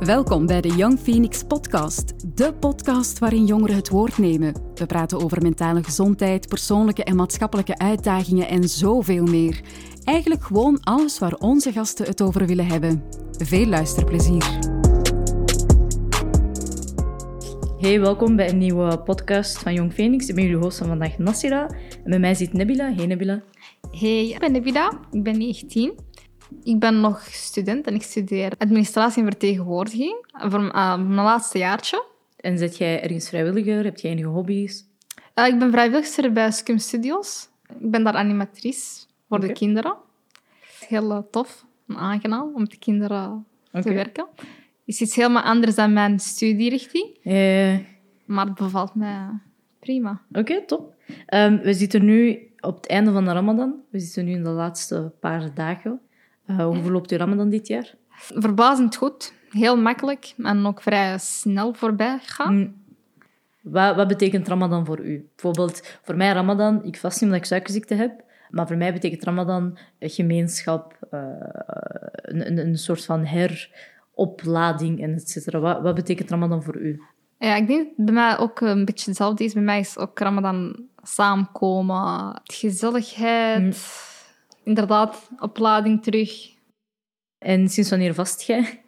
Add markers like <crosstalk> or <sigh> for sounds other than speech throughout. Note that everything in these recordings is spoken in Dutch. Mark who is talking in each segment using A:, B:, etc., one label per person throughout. A: Welkom bij de Young Phoenix Podcast, de podcast waarin jongeren het woord nemen. We praten over mentale gezondheid, persoonlijke en maatschappelijke uitdagingen en zoveel meer. Eigenlijk gewoon alles waar onze gasten het over willen hebben. Veel luisterplezier.
B: Hey, welkom bij een nieuwe podcast van Jong Phoenix. Ik ben jullie host van vandaag, Nassira. En bij mij zit Nebila. Hey Nebila.
C: Hey, ik ben Nebida, ik ben 19. Ik ben nog student en ik studeer administratie en vertegenwoordiging voor m- ah, mijn laatste jaartje.
B: En zit jij ergens vrijwilliger? Heb jij enige hobby's?
C: Eh, ik ben vrijwilligster bij Scum Studios. Ik ben daar animatrice voor de
B: Oké.
C: kinderen. Het is heel eh, tof en aangenaam om met de kinderen
B: Oké.
C: te werken. is iets helemaal anders dan mijn studierichting,
B: Eh,
C: maar het bevalt mij prima.
B: Oké, top. Ehm, we zitten nu op het einde van de Ramadan. We zitten nu in de laatste paar dagen. Eh, hoe verloopt uw Ramadan dit jaar?
C: Verbazend goed, heel makkelijk en ook vrij snel voorbij gaan.
B: Mm. Wat, wat betekent Ramadan voor u? Bijvoorbeeld, voor mij Ramadan, ik vast niet omdat ik suikerziekte heb, maar voor mij betekent Ramadan eh, gemeenschap, eh, een, een, een soort van heroplading en et cetera. Wat, wat betekent Ramadan voor u?
C: Ja, ik denk dat het bij mij ook een beetje hetzelfde is. Bij mij is ook Ramadan samenkomen, het gezelligheid, inderdaad, oplading terug.
B: En sinds wanneer vast jij?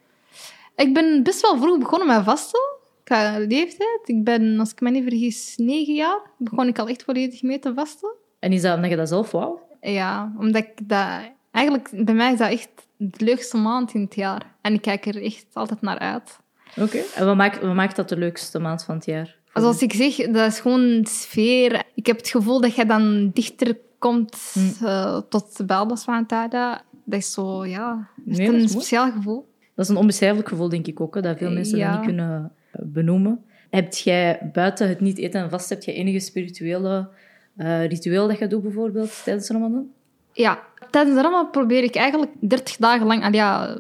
C: Ik ben best wel vroeg begonnen met vasten, qua leeftijd. Ik ben, als ik me niet vergis, negen jaar. Begon ik al echt volledig mee te vasten.
B: En is dat omdat je dat zelf wou?
C: Ja, omdat ik dat... Eigenlijk, bij mij is dat echt de leukste maand in het jaar. En ik kijk er echt altijd naar uit.
B: Oké. En wat maakt, wat maakt dat de leukste maand van het jaar? voor
C: Zoals ik zeg, dat is gewoon de sfeer. Ik heb het gevoel dat jij dan dichter komt
B: Hm.
C: eh, tot bij Allah subhanahu wa ta'ala. Dat is zo, ja...
B: Nee, dat is
C: echt een
B: mooi.
C: speciaal gevoel.
B: u? Dat is een onbeschrijfelijk gevoel, denk ik ook, hè, dat veel mensen
C: Eh, Ja.
B: dat niet kunnen eh, benoemen. Heb jij buiten het niet eten en vast, heb jij enige spirituele eh, ritueel dat je doet bijvoorbeeld tijdens Ramadan?
C: Ja. Tijdens de Ramadan probeer ik eigenlijk 30 dagen lang al ja,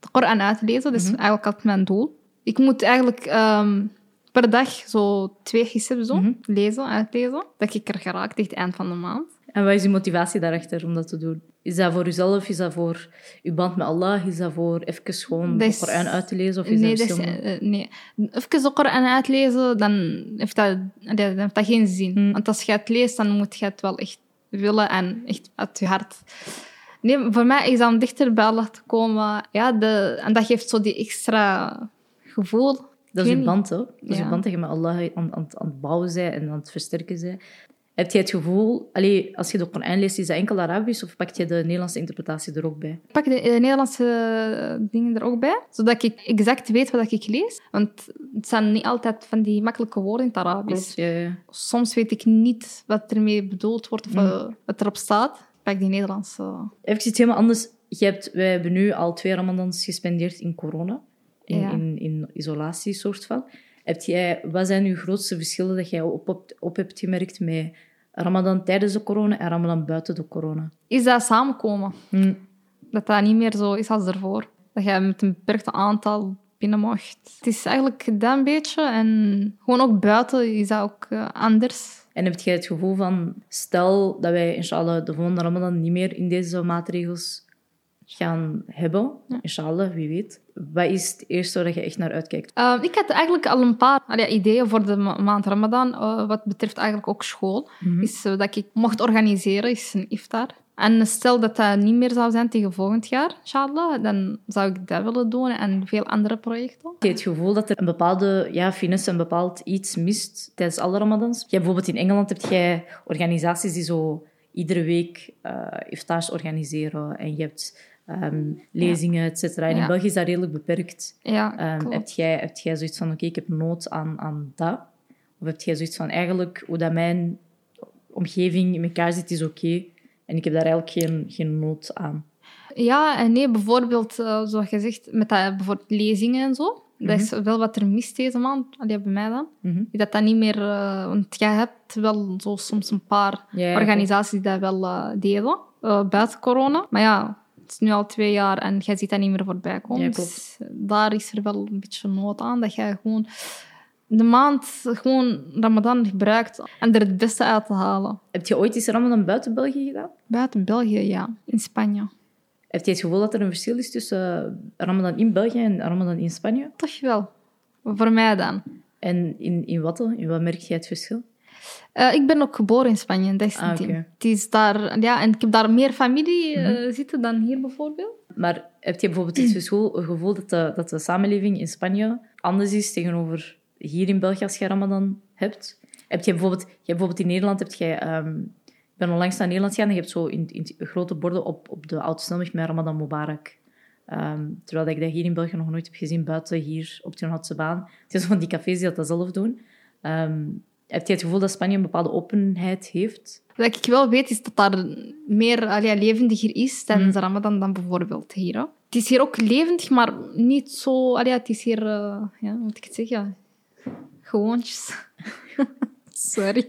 C: de Koran uit te lezen. Dat
B: Mhm.
C: is eigenlijk altijd mijn doel. Ik moet eigenlijk ehm, per dag zo twee gissen zo
B: Mhm.
C: lezen, uitlezen. Dat ik er geraakt tegen het eind van de maand.
B: En wat is je motivatie daarachter om dat te doen? Is dat voor uzelf? Is dat voor uw band met Allah? Is dat voor even gewoon
C: Dat
B: de
C: is-
B: Koran uit te lezen? Of is
C: Nee,
B: dat
C: dat is,
B: verschillende-
C: eh, nee. Even de Koran uitlezen, dan heeft dat, dat- dan heeft dat geen zin.
B: Mm.
C: Want als je het leest, dan moet je het wel echt willen en echt uit je hart. Nee, voor mij is dat om dichter bij Allah te komen. Ja, de, en dat geeft zo die extra gevoel.
B: dat is
C: ik
B: uw
C: weet
B: band, hè? Dat is
C: Ja.
B: uw band dat je met Allah aan, aan, aan het bouwen bent en aan het versterken bent. Heb jij het gevoel, allee, als je de Koran leest, is dat enkel Arabisch of pak je de Nederlandse interpretatie er ook bij?
C: Ik pak de, eh, Nederlandse eh, dingen er ook bij, zodat ik exact weet wat ik lees. Want het zijn niet altijd van die makkelijke woorden in het Arabisch.
B: Ja, ja.
C: Soms weet ik niet wat ermee bedoeld wordt of
B: Mm.
C: eh, wat erop staat. Ik pak die Nederlandse...
B: Even iets helemaal anders. Je hebt, wij hebben nu al twee ramadans gespendeerd in corona. In,
C: Ja.
B: in, in isolatie, soort van. Heb jij, wat zijn uw grootste verschillen dat jij op, op, op hebt gemerkt met ramadan tijdens de corona en ramadan buiten de corona?
C: is dat samenkomen.
B: Hm.
C: Dat dat niet meer zo is als ervoor. Dat je met een beperkt aantal binnen mocht. Het is eigenlijk dat een beetje. En gewoon ook buiten is dat ook eh, anders.
B: En heb jij het gevoel van, stel dat wij inshallah de volgende ramadan niet meer in deze maatregels gaan hebben,
C: Ja.
B: inshallah, wie weet. Wat is het eerste waar je echt naar uitkijkt?
C: Eh, ik had eigenlijk al een paar allee, ideeën voor de ma- maand Ramadan. eh, wat betreft eigenlijk ook school.
B: Mhm.
C: Is eh, dat ik mocht organiseren, is een iftar. En stel dat dat niet meer zou zijn tegen volgend jaar, inshallah, dan zou ik dat willen doen en veel andere projecten.
B: Heb je het gevoel dat er een bepaalde ja, finesse, een bepaald iets mist tijdens alle ramadans? Jij bijvoorbeeld in Engeland heb jij organisaties die zo iedere week eh iftaars organiseren. En je hebt ehm, lezingen, et cetera. En in
C: Ja.
B: België is dat redelijk beperkt.
C: Ja,
B: Ehm,
C: klopt.
B: heb, jij, heb jij zoiets van, oké, ik heb nood aan, aan dat? Of heb jij zoiets van, eigenlijk, hoe dat mijn omgeving in elkaar zit, is oké. En ik heb daar eigenlijk geen, geen nood aan.
C: Ja en nee, bijvoorbeeld, eh, zoals je zegt, met dat, bijvoorbeeld lezingen en zo. Dat is wel wat er mist deze maand, allee, bij mij dan.
B: Mhm.
C: Dat dat niet meer... eh, want jij hebt wel zo soms een paar
B: Ja, ja,
C: organisaties die dat wel eh, delen, eh, buiten corona. Maar ja, het is nu al twee jaar en jij ziet dat niet meer voorbij komen.
B: Ja,
C: dus daar is er wel een beetje nood aan, dat jij gewoon de maand gewoon Ramadan gebruikt en er het beste uit te halen.
B: Heb je ooit iets ramadan buiten België gedaan?
C: Buiten België, ja. In Spanje.
B: Heeft jij het gevoel dat er een verschil is tussen eh, Ramadan in België en Ramadan in Spanje?
C: Toch wel. Voor mij dan.
B: En in, in wat dan? In wat merk jij het verschil?
C: Eh, ik ben ook geboren in Spanje, in 19.
B: Ah, oké. Mhm.
C: Het is daar, ja, en ik heb daar meer familie eh, zitten dan hier bijvoorbeeld.
B: Maar heb je bijvoorbeeld het verschil- gevoel dat de, dat de samenleving in Spanje anders is tegenover hier in België als je Ramadan hebt? Heb je bijvoorbeeld, je hebt bijvoorbeeld in Nederland, heb jij, ehm, ik ben onlangs naar Nederland gegaan en je hebt zo in, in grote borden op, op de autosnelweg met Ramadan Mubarak. Ehm, terwijl ik dat hier in België nog nooit heb gezien, buiten hier op de Houtse baan. Het is van die cafés die dat zelf doen. Ehm, heb jij het gevoel dat Spanje een bepaalde openheid heeft?
C: Wat ik wel weet is dat daar meer ah, ja, levendiger is
B: Mhm.
C: tijdens de Ramadan dan bijvoorbeeld hier. hè. Het is hier ook levendig, maar niet zo. ah, ja, het is hier, eh, ja, hoe moet ik het zeggen? Gewoontjes. Sorry.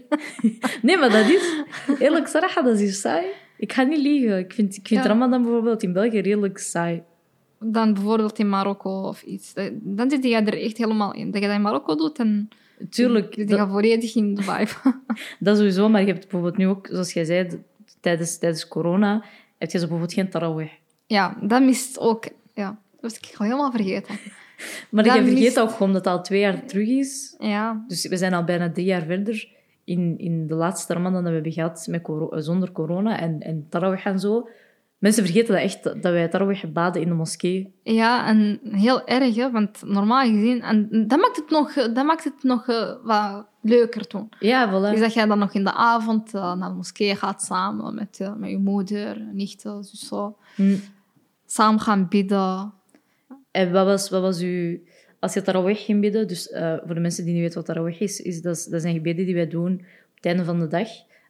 B: Nee, maar dat is... Eerlijk gezegd, dat is hier saai. Ik ga niet liegen. Ik vind, ik vind
C: Ja.
B: Ramadan bijvoorbeeld in België redelijk saai.
C: Dan bijvoorbeeld in Marokko of iets. Eh, Dan zit je er echt helemaal in. Dat je dat in Marokko doet, dan
B: Tuurlijk,
C: zit
B: dat,
C: je volledig in de vibe. <laughs>
B: dat sowieso. Maar je hebt bijvoorbeeld nu ook, zoals jij zei, d- tijdens, tijdens corona, heb je zo bijvoorbeeld geen tarawih.
C: ja, dat mist ook. Ja, dat was ik al helemaal vergeten.
B: Maar
C: Dat
B: je vergeet
C: mist-
B: ook gewoon dat het al twee jaar terug is.
C: Ja,
B: Dus we zijn al bijna drie jaar verder in, in de laatste Ramadan dat we hebben gehad met coro- eh, zonder corona en, en tarawih en zo. Mensen vergeten dat echt, dat wij tarawih baden in de moskee.
C: Ja, en heel erg, hè, want normaal gezien... En dat maakt het nog, dat maakt het nog eh, wat leuker toen.
B: Ja, voilà.
C: Dus dat jij dan nog in de avond eh, naar de moskee gaat samen met, eh, met je moeder, nichten, dus zo.
B: Hm.
C: Samen gaan bidden.
B: En wat was, wat was uw... Als je tarawih ging bidden, dus eh, voor de mensen die niet weten wat tarawih is, is dat, dat zijn gebeden die wij doen op het einde van de dag.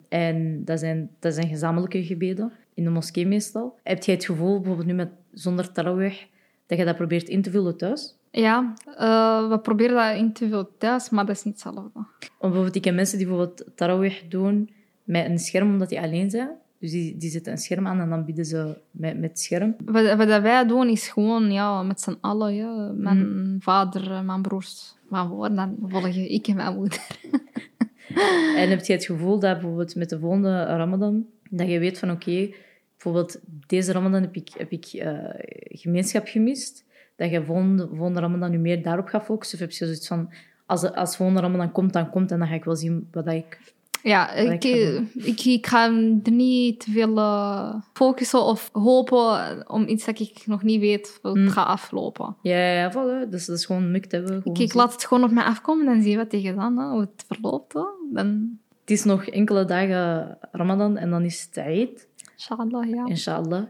B: En dat zijn, dat zijn gezamenlijke gebeden, in de moskee meestal. Heb jij het gevoel, bijvoorbeeld nu met, zonder tarawih, dat je dat probeert in te vullen thuis?
C: Ja, eh, we proberen dat in te veel thuis, maar dat is niet hetzelfde.
B: Want bijvoorbeeld, ik ken mensen die bijvoorbeeld tarawih doen met een scherm, omdat die alleen zijn. Dus die, die zetten een scherm aan en dan bidden ze met, met het scherm.
C: Wat, wat dat wij doen is gewoon ja, met z'n allen. Ja. Mijn vader, eh, mijn broers, mijn broer, dan volgen ik en mijn moeder.
B: En heb je het gevoel dat bijvoorbeeld met de volgende Ramadan, dat je weet van oké, bijvoorbeeld deze Ramadan heb ik, heb ik eh, gemeenschap gemist, dat je volgende, volgende Ramadan nu meer daarop gaat focussen? Of heb je zoiets van, als, als volgende Ramadan komt, dan komt en dan ga ik wel zien wat dat ik...
C: Ja,
B: ik
C: ik, eh,
B: ga doen.
C: ik, ik ga er niet te veel eh, focussen of hopen om iets dat ik nog niet weet wat
B: Mm.
C: gaat aflopen.
B: Ja, ja, ja, voilà. Dus dat is gewoon mukt hebben.
C: Ik,
B: gewoon
C: ik
B: zien.
C: laat het gewoon op mij afkomen en zie wat tegen dan, hè, hoe het verloopt. hè. Dan,
B: Het is nog enkele dagen Ramadan en dan is het Eid,
C: inshallah, ja.
B: inshallah.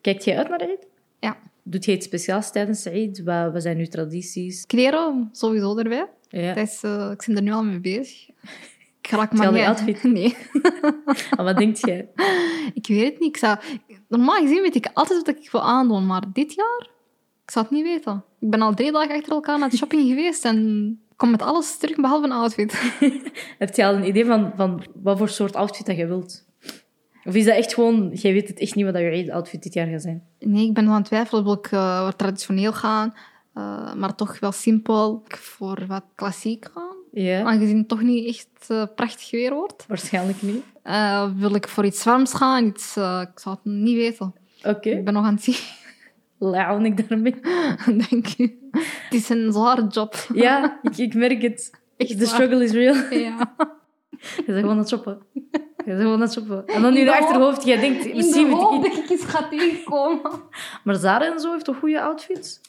B: Kijkt jij uit naar Eid?
C: Ja.
B: Doet jij iets speciaals tijdens Eid? Wat, wat zijn uw tradities?
C: Kleren sowieso erbij.
B: Ja.
C: Dat is, eh, ik ben er nu al mee bezig. <laughs> Ik raak
B: Hetzelfde
C: maar niet...
B: outfit. <laughs>
C: Nee,
B: En wat denk jij?
C: ik weet het niet. Ik zou... Normaal gezien weet ik altijd wat ik wil aandoen, maar dit jaar... Ik zou het niet weten. Ik ben al drie dagen achter elkaar naar de shopping <laughs> geweest en ik kom met alles terug behalve een outfit.
B: Heb je al een idee van, van wat voor soort outfit dat je wilt? Of is dat echt gewoon, jij weet het echt niet wat dat je eigen outfit dit jaar gaat zijn?
C: Nee, ik ben wel aan het twijfelen. Wil ik eh, wat traditioneel gaan, eh, maar toch wel simpel. Ik Voor wat klassiek gaan,
B: Ja,
C: aangezien het toch niet echt eh, prachtig weer wordt.
B: Ah, waarschijnlijk niet.
C: Eh, wil ik voor iets warms gaan, iets... eh, ik zou het niet weten.
B: Oké,
C: Ik ben nog aan het zien, <laughs>
B: laat ik daarmee.
C: denk ik. Het is een zware job.
B: Ja, ik, ik merk het.
C: Echt
B: The
C: waar.
B: struggle is real. <laughs> Je
C: <laughs> Ja.
B: bent gewoon aan het shoppen. Je bent gewoon aan het shoppen. En dan
C: In
B: in je
C: de
B: achterhoofd, jij denkt,
C: In de
B: misschien
C: hoop
B: moet ik
C: dat ik iets ga tegenkomen.
B: iets. Maar Zara en zo heeft toch goede outfits?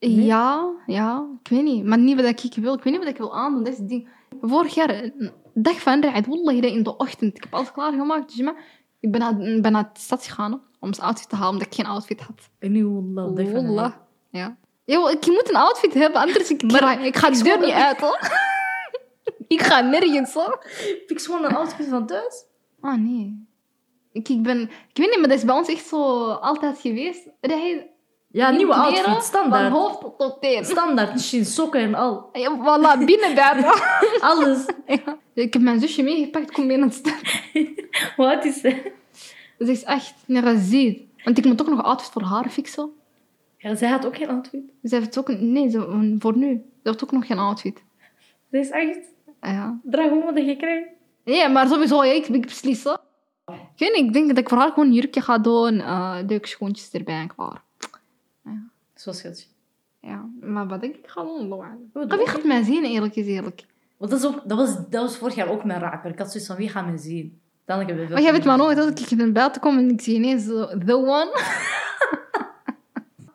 B: Nee?
C: Ja, ja. Ik weet niet. Maar niet wat ik wil. Ik weet niet wat ik wil aandoen. Dat is het ding. Vorig jaar, een dag van Ra'id, wallahi, dat in de ochtend. Ik heb alles klaargemaakt. Dus maar ik ben naar, ik ben naar de stad gegaan hè, om zijn outfit te halen, omdat ik geen outfit had.
B: Nee, wallah. dat vind ik-
C: Wallah. Ja. Yo, ik moet een outfit hebben, anders ik, ik, ik ga de deur niet uit. Hoor. <laughs> ik ga nergens. Hoor.
B: Fix gewoon een outfit van thuis.
C: Oh nee. Ik, ik, ben, ik weet niet, maar dat is bij ons echt zo altijd geweest. Ra'id,
B: Ja, nieuwe
C: kleren,
B: outfit, standaard.
C: Van hoofd tot teen.
B: Standaard, misschien sokken en al.
C: Ja, Voilà, binnen buiten.
B: Alles.
C: Ja. Ik heb mijn zusje meegepakt, kom mee naar de stad.
B: <laughs> Wat is het?
C: Ze is echt nerazid. Want ik moet ook nog outfit voor haar fixen.
B: Ja, zij had ook geen outfit.
C: Ze heeft ook... Nee, ze, voor nu. Ze heeft ook nog geen outfit. Ah,
B: Zij is echt...
C: Ja.
B: Draag gewoon wat je krijgt.
C: Nee, maar sowieso, ja, ik, ik beslis. hè. Ik weet niet, ik denk dat ik vooral gewoon een jurkje ga doen, eh, leuke schoentjes erbij en klaar.
B: Zoals je het...
C: Ja, maar wat denk ik ga doen? Loan.
B: Oh,
C: Ik
B: doe
C: heb echt
B: ik.
C: mijn zin, eerlijk is eerlijk.
B: Want dat, is ook, dat, was, dat was vorig jaar ook mijn raker. Ik had zoiets van, wie gaat me zien? Dan heb ik
C: Maar jij weet maar nooit dat ik in een buiten kom en ik zie ineens zo, the one.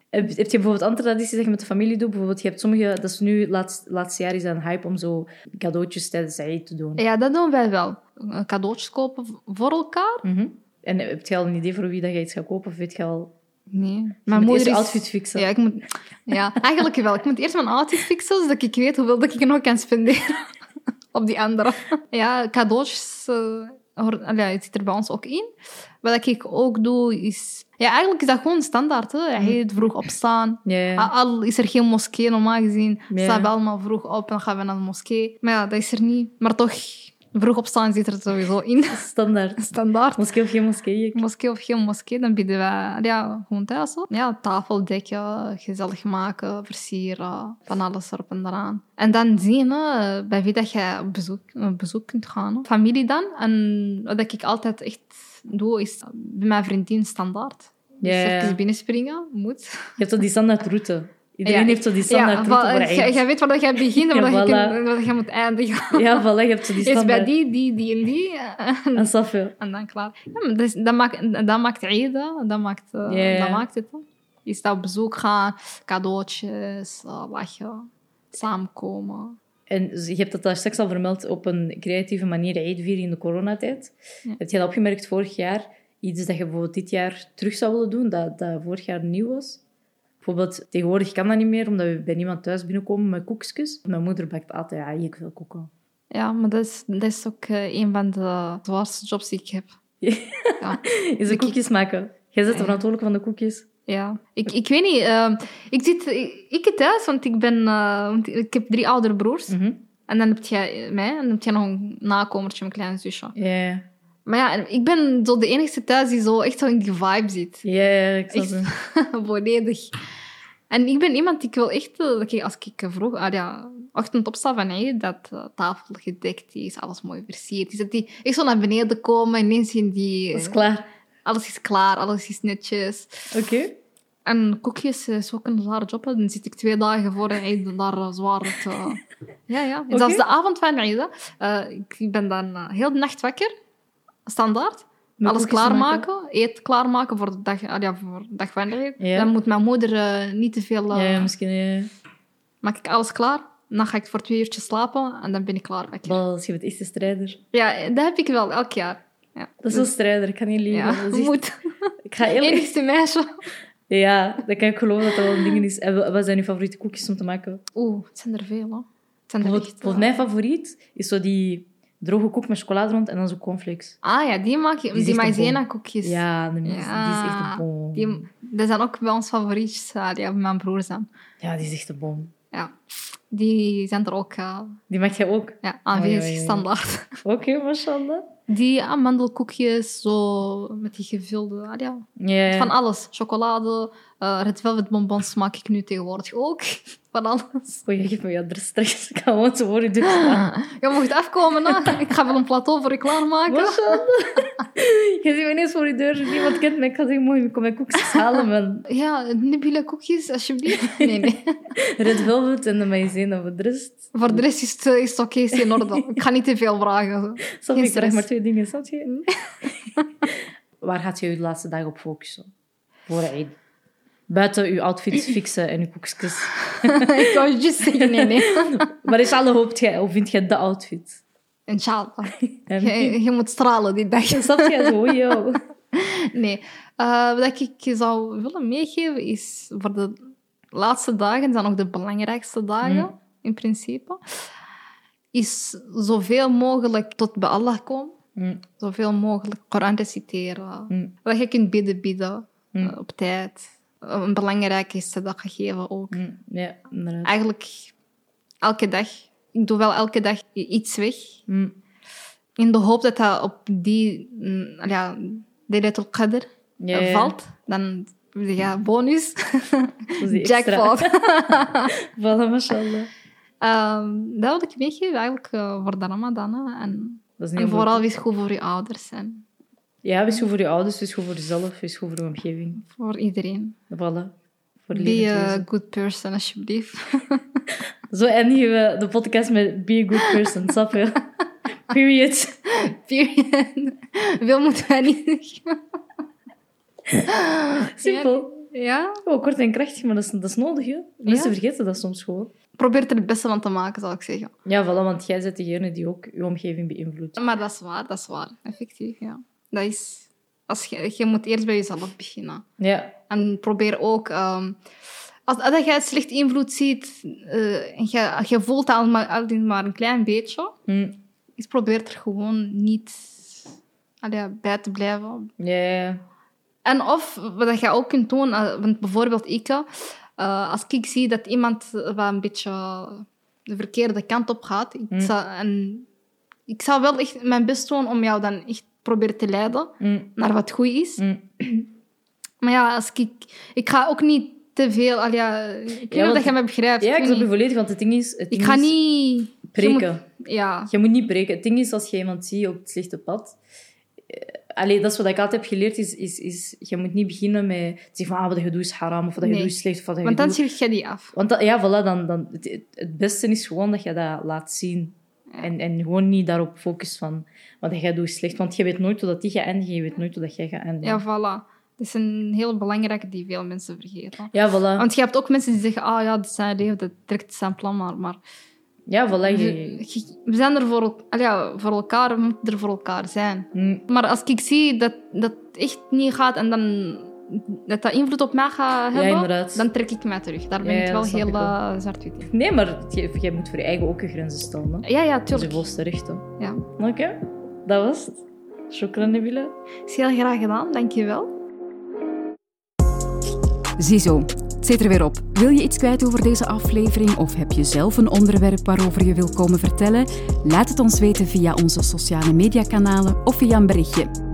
B: Heb, heb je bijvoorbeeld andere tradities dat je met de familie doet? Bijvoorbeeld, je hebt sommige... Dat is nu, laatst, laatste jaar is dat een hype om zo cadeautjes tijdens Eid te doen.
C: Ja, dat doen wij wel. Eh, Cadeautjes kopen voor elkaar?
B: Mhm. En heb je al een idee voor wie dat je iets gaat kopen? Of weet je al...
C: Nee.
B: Mijn
C: Mijn moeder
B: eerst
C: is...
B: je outfit fixen.
C: Ja, ik moet... ja, eigenlijk wel. Ik moet eerst mijn outfit fixen, zodat ik weet hoeveel dat ik nog kan spenderen <laughs> op die andere. Ja, cadeautjes, eh, hoor- allee, het zit er bij ons ook in. Wat ik ook doe, is... Ja, eigenlijk is dat gewoon standaard. Hè. Heel vroeg opstaan.
B: Ja, ja.
C: Al- Al is er geen moskee normaal gezien,
B: Ja.
C: staan we allemaal vroeg op en gaan we naar de moskee. Maar ja, dat is er niet. Maar toch, vroeg opstaan zit er sowieso in. <laughs>
B: Standaard.
C: Standaard.
B: Moskee of geen moskee?
C: Moskee of geen moskee, dan bieden we ja, gewoon thuis op. Ja, tafel dekken, gezellig maken, versieren, van alles erop en eraan. En dan zien hè, bij wie dat je op bezoek, op bezoek kunt gaan. hè. Familie dan. En wat ik altijd echt doe, is bij mijn vriendin standaard.
B: Ja,
C: Dus
B: ja, ja.
C: even binnenspringen, moet.
B: Je hebt zo die standaard route. Iedereen
C: Ja. eh,
B: heeft zo die standaard route voor
C: jij-
B: Eid.
C: jij weet waar dat jij begint en
B: <laughs> Ja,
C: waar dat je
B: voilà.
C: kunt- waar dat je moet eindigen.
B: Ja, voilà. Je hebt zo die
C: Eerst bij
B: standaard.
C: die, die, die en die. eh,
B: En Safia.
C: En dan klaar. Ja, maar dat, is- dat maakt, dat maakt Eid, hè. dat maakt, eh,
B: Ja, ja.
C: dat maakt het. hè. Is dat op bezoek gaan, cadeautjes, eh, lachen, samenkomen.
B: En je hebt dat daar straks al vermeld op een creatieve manier Eid vieren in de coronatijd.
C: Ja.
B: Heb je dat opgemerkt vorig jaar? Iets dat je bijvoorbeeld dit jaar terug zou willen doen, dat, dat vorig jaar nieuw was? Bijvoorbeeld, tegenwoordig kan dat niet meer, omdat we bij niemand thuis binnenkomen met koekjes. Mijn moeder bakt altijd, ja, ik wil koeken.
C: Ja, maar dat is, dat is ook eh, een van de zwaarste jobs die ik heb.
B: Is het koekjes maken? Jij bent de verantwoordelijke van de koekjes.
C: Ja, ik, ik weet niet. eh, ik zit ik, ik thuis, want ik, ben, eh, want ik heb drie oudere broers.
B: Mhm.
C: En dan heb je mij en dan heb je nog een nakomertje, mijn kleine zusje.
B: Ja, ja,
C: Maar ja, ik ben zo de enige thuis die zo echt zo in die vibe zit.
B: ja, ja, ik snap
C: Echt?
B: het.
C: <laughs> Volledig. En ik ben iemand die ik wil echt... eh, dat ik als ik eh, vroeg, ah ja, ochtend opsta van hey, dat eh, tafel gedekt is, alles mooi versierd is. Dat die echt zo naar beneden komen en ineens zien die... eh,
B: Dat is klaar.
C: Alles is klaar, alles is netjes.
B: Oké.
C: En koekjes eh, is ook een zware job. hè. Dan zit ik twee dagen voor en eet daar eh, zwaar het...
B: <laughs>
C: eh, Ja, ja.
B: Oké.
C: Dat is de avond van Eid. hè. Eh, ik ben dan eh, heel de nacht wakker. Standaard.
B: Met
C: Alles
B: koekjes maken.
C: klaarmaken, eet klaarmaken voor de dag, ah ja, voor de dag van de Eid.
B: Ja.
C: Dan moet mijn moeder eh, niet te veel...
B: Ja,
C: eh,
B: ja, misschien. ja.
C: Maak ik alles klaar, dan ga ik voor twee uurtjes slapen en dan ben ik klaar. wakker.
B: Bas, je bent echt een strijder.
C: Ja, dat heb ik wel, elk jaar. Ja.
B: Dat is een strijder, ik kan niet liegen.
C: ja, <laughs>
B: Dat is echt-
C: moet.
B: Ik ga eerlijk...
C: Enigste meisje.
B: Ja, dan kan ik geloven dat dat wel een ding is. En wa- wat zijn je favoriete koekjes om te maken?
C: Oeh, het zijn er veel, hè. Het zijn er
B: Bijvoorbeeld,
C: echt, eh.
B: bijvoorbeeld mijn favoriet is zo die droge koek met chocolade rond en dan zo cornflakes.
C: Ah ja, die maak je,
B: is
C: die,
B: echt een
C: maïzena-koekjes.
B: Ja, die, is- die is echt
C: Ja,
B: een bom.
C: Die, dat zijn ook bij ons favorietjes, eh, die hebben mijn broers aan.
B: Ja, die is echt een bom.
C: Ja. Die zijn er ook eh,
B: Die maak jij ook?
C: ja, aanwezig,
B: Oei, oei, oei.
C: standaard.
B: Oké, mashallah.
C: Die amandelkoekjes, zo met die gevulde... ah ja,
B: Ja,
C: Van alles. Chocolade, eh red velvet bonbons maak ik nu tegenwoordig ook. <laughs> Van alles.
B: Oh, je geeft me je adres straks. <laughs> Ik ga gewoon zo voor je deur
C: <laughs>
B: staan.
C: Je mocht afkomen, hè. Ik ga wel een plateau voor je klaarmaken.
B: Mashallah. <laughs> Je ziet me ineens voor je deur. Niemand kent me. Ik ga zeggen, mooi, ik kom mijn koekjes halen. Man.
C: Ja, Nibila koekjes, alsjeblieft. Nee, nee. <laughs>
B: Red Velvet en de maïzena voor de rest.
C: Voor de rest is het, eh, is het oké, is het in orde. Ik ga niet te veel vragen.
B: Snap je?
C: Geen
B: Ik vraag maar
C: stress.
B: twee dingen, snap je? <laughs> Waar gaat je je laatste dag op focussen? Voor Eid. Buiten je
C: <clears throat>
B: outfit fixen en je koekjes.
C: <laughs>
B: <laughs>
C: Ik wou juist zeggen, nee, nee.
B: Maar inshallah hoopt jij, of vindt jij de outfit?
C: Inshallah.
B: En-
C: Je, je moet stralen die dag.
B: <laughs> Snap je? Zo,
C: <laughs>
B: yo.
C: Nee. Eh, wat ik je zou willen meegeven is voor de laatste dagen, zijn ook de belangrijkste dagen
B: Mm.
C: in principe, is zoveel mogelijk tot bij Allah komen.
B: Mm,
C: Zoveel mogelijk Koran reciteren.
B: mm,
C: Dat je kunt bidden, bidden
B: Mm.
C: eh, op tijd. Een belangrijke is dat gegeven ook.
B: mm. Ja, inderdaad.
C: Eigenlijk elke dag. Ik doe wel elke dag i- iets weg.
B: Mm,
C: In de hoop dat dat op die, mm, ja, Laylatul Qadr,
B: Ja,
C: eh,
B: ja.
C: valt, dan ja,
B: <laughs>
C: bonus.
B: Dat is die extra.
C: Jackpot.
B: <laughs> Voilà, mashallah.
C: Ehm, dat wil ik meegeven eigenlijk eh, voor de Ramadan. hè. En,
B: Dat is
C: en
B: niet
C: vooral wees goed voor je ouders. En
B: Ja, wees goed voor je ouders, wees goed voor jezelf, wees goed voor je omgeving.
C: Voor iedereen.
B: Voilà. Voor
C: Be
B: levend
C: a
B: wezen.
C: good person, alsjeblieft. <laughs>
B: Zo eindigen we de podcast met be a good
C: <laughs>
B: person, snap je? Period.
C: Period. Veel moeten wij niet zeggen.
B: Simpel.
C: Ja?
B: Oh, kort en krachtig, maar dat is, dat is nodig, hè? Mensen vergeten dat soms gewoon.
C: Probeer er het beste van te maken, zal ik zeggen.
B: Ja, voilà, want jij bent degene die ook je omgeving beïnvloedt.
C: Maar dat is waar, dat is waar. Effectief, ja. Dat is... Als je, je moet eerst bij jezelf beginnen.
B: Ja,
C: En probeer ook... ehm, als dat jij slecht invloed ziet eh, en je, je voelt dat al maar, al maar een klein beetje,
B: Hm.
C: is probeer er gewoon niet allee, bij te blijven.
B: ja, ja, ja.
C: En of wat je ook kunt doen, eh, want bijvoorbeeld ik, eh, als ik zie dat iemand wat een beetje de verkeerde kant op gaat, ik,
B: Mm.
C: zou, en ik zou wel echt mijn best doen om jou dan echt proberen te leiden
B: Hm,
C: naar wat goed is.
B: hm.
C: <clears throat> Maar ja, als ik, ik ga ook niet te veel, al ja, ik weet niet of
B: want-
C: dat je mij begrijpt.
B: Ja, ik
C: weet
B: snap je
C: niet.
B: volledig, want het ding is... Het
C: ik
B: ding
C: ga
B: is
C: niet
B: Preken.
C: Ja,
B: Je moet niet breken. Het ding is, als je iemand ziet op het slechte pad... eh, Allee, dat is wat ik altijd heb geleerd, is, is, is je moet niet beginnen met te zeggen van ah, wat je doet is haram, of wat je
C: Nee.
B: doet is slecht, of wat je
C: want dan
B: doet...
C: schrik je die af.
B: Want dat, ja, voilà, dan, dan, het- het, het beste is gewoon dat je dat laat zien. En, en gewoon niet daarop focus van wat jij doet is slecht. Want je weet nooit hoe dat die gaat eindigen, je weet nooit hoe dat jij gaat eindigen.
C: Ja, voilà. Dat is een heel belangrijke die veel mensen vergeten.
B: Ja, voilà.
C: Want je hebt ook mensen die zeggen, ah ja, dit is zijn leven, dat trekt zijn plan maar. Maar
B: ja, voilà. je-
C: we, je- we zijn er voor, el- al ja, voor elkaar, we moeten er voor elkaar zijn.
B: Mm,
C: Maar als ik zie dat dat echt niet gaat en dan dat dat invloed op mij gaat
B: Ja,
C: hebben,
B: inderdaad.
C: dan trek ik mij terug. Daar ben
B: Ja,
C: ik
B: ja,
C: wel
B: dat snap
C: heel
B: ik wel.
C: eh, zwart-wit in.
B: Nee, maar je- jij moet voor je eigen ook je grenzen stellen. Hè?
C: Ja, ja,
B: Dat is je
C: tuurlijk.
B: volste rechten.
C: Ja.
B: Oké, dat was het. Shukran, Nabila.
C: Is heel graag gedaan, dankjewel.
A: Ziezo, het zit er weer op. Wil je iets kwijt over deze aflevering of heb je zelf een onderwerp waarover je wil komen vertellen? Laat het ons weten via onze sociale mediakanalen of via een berichtje.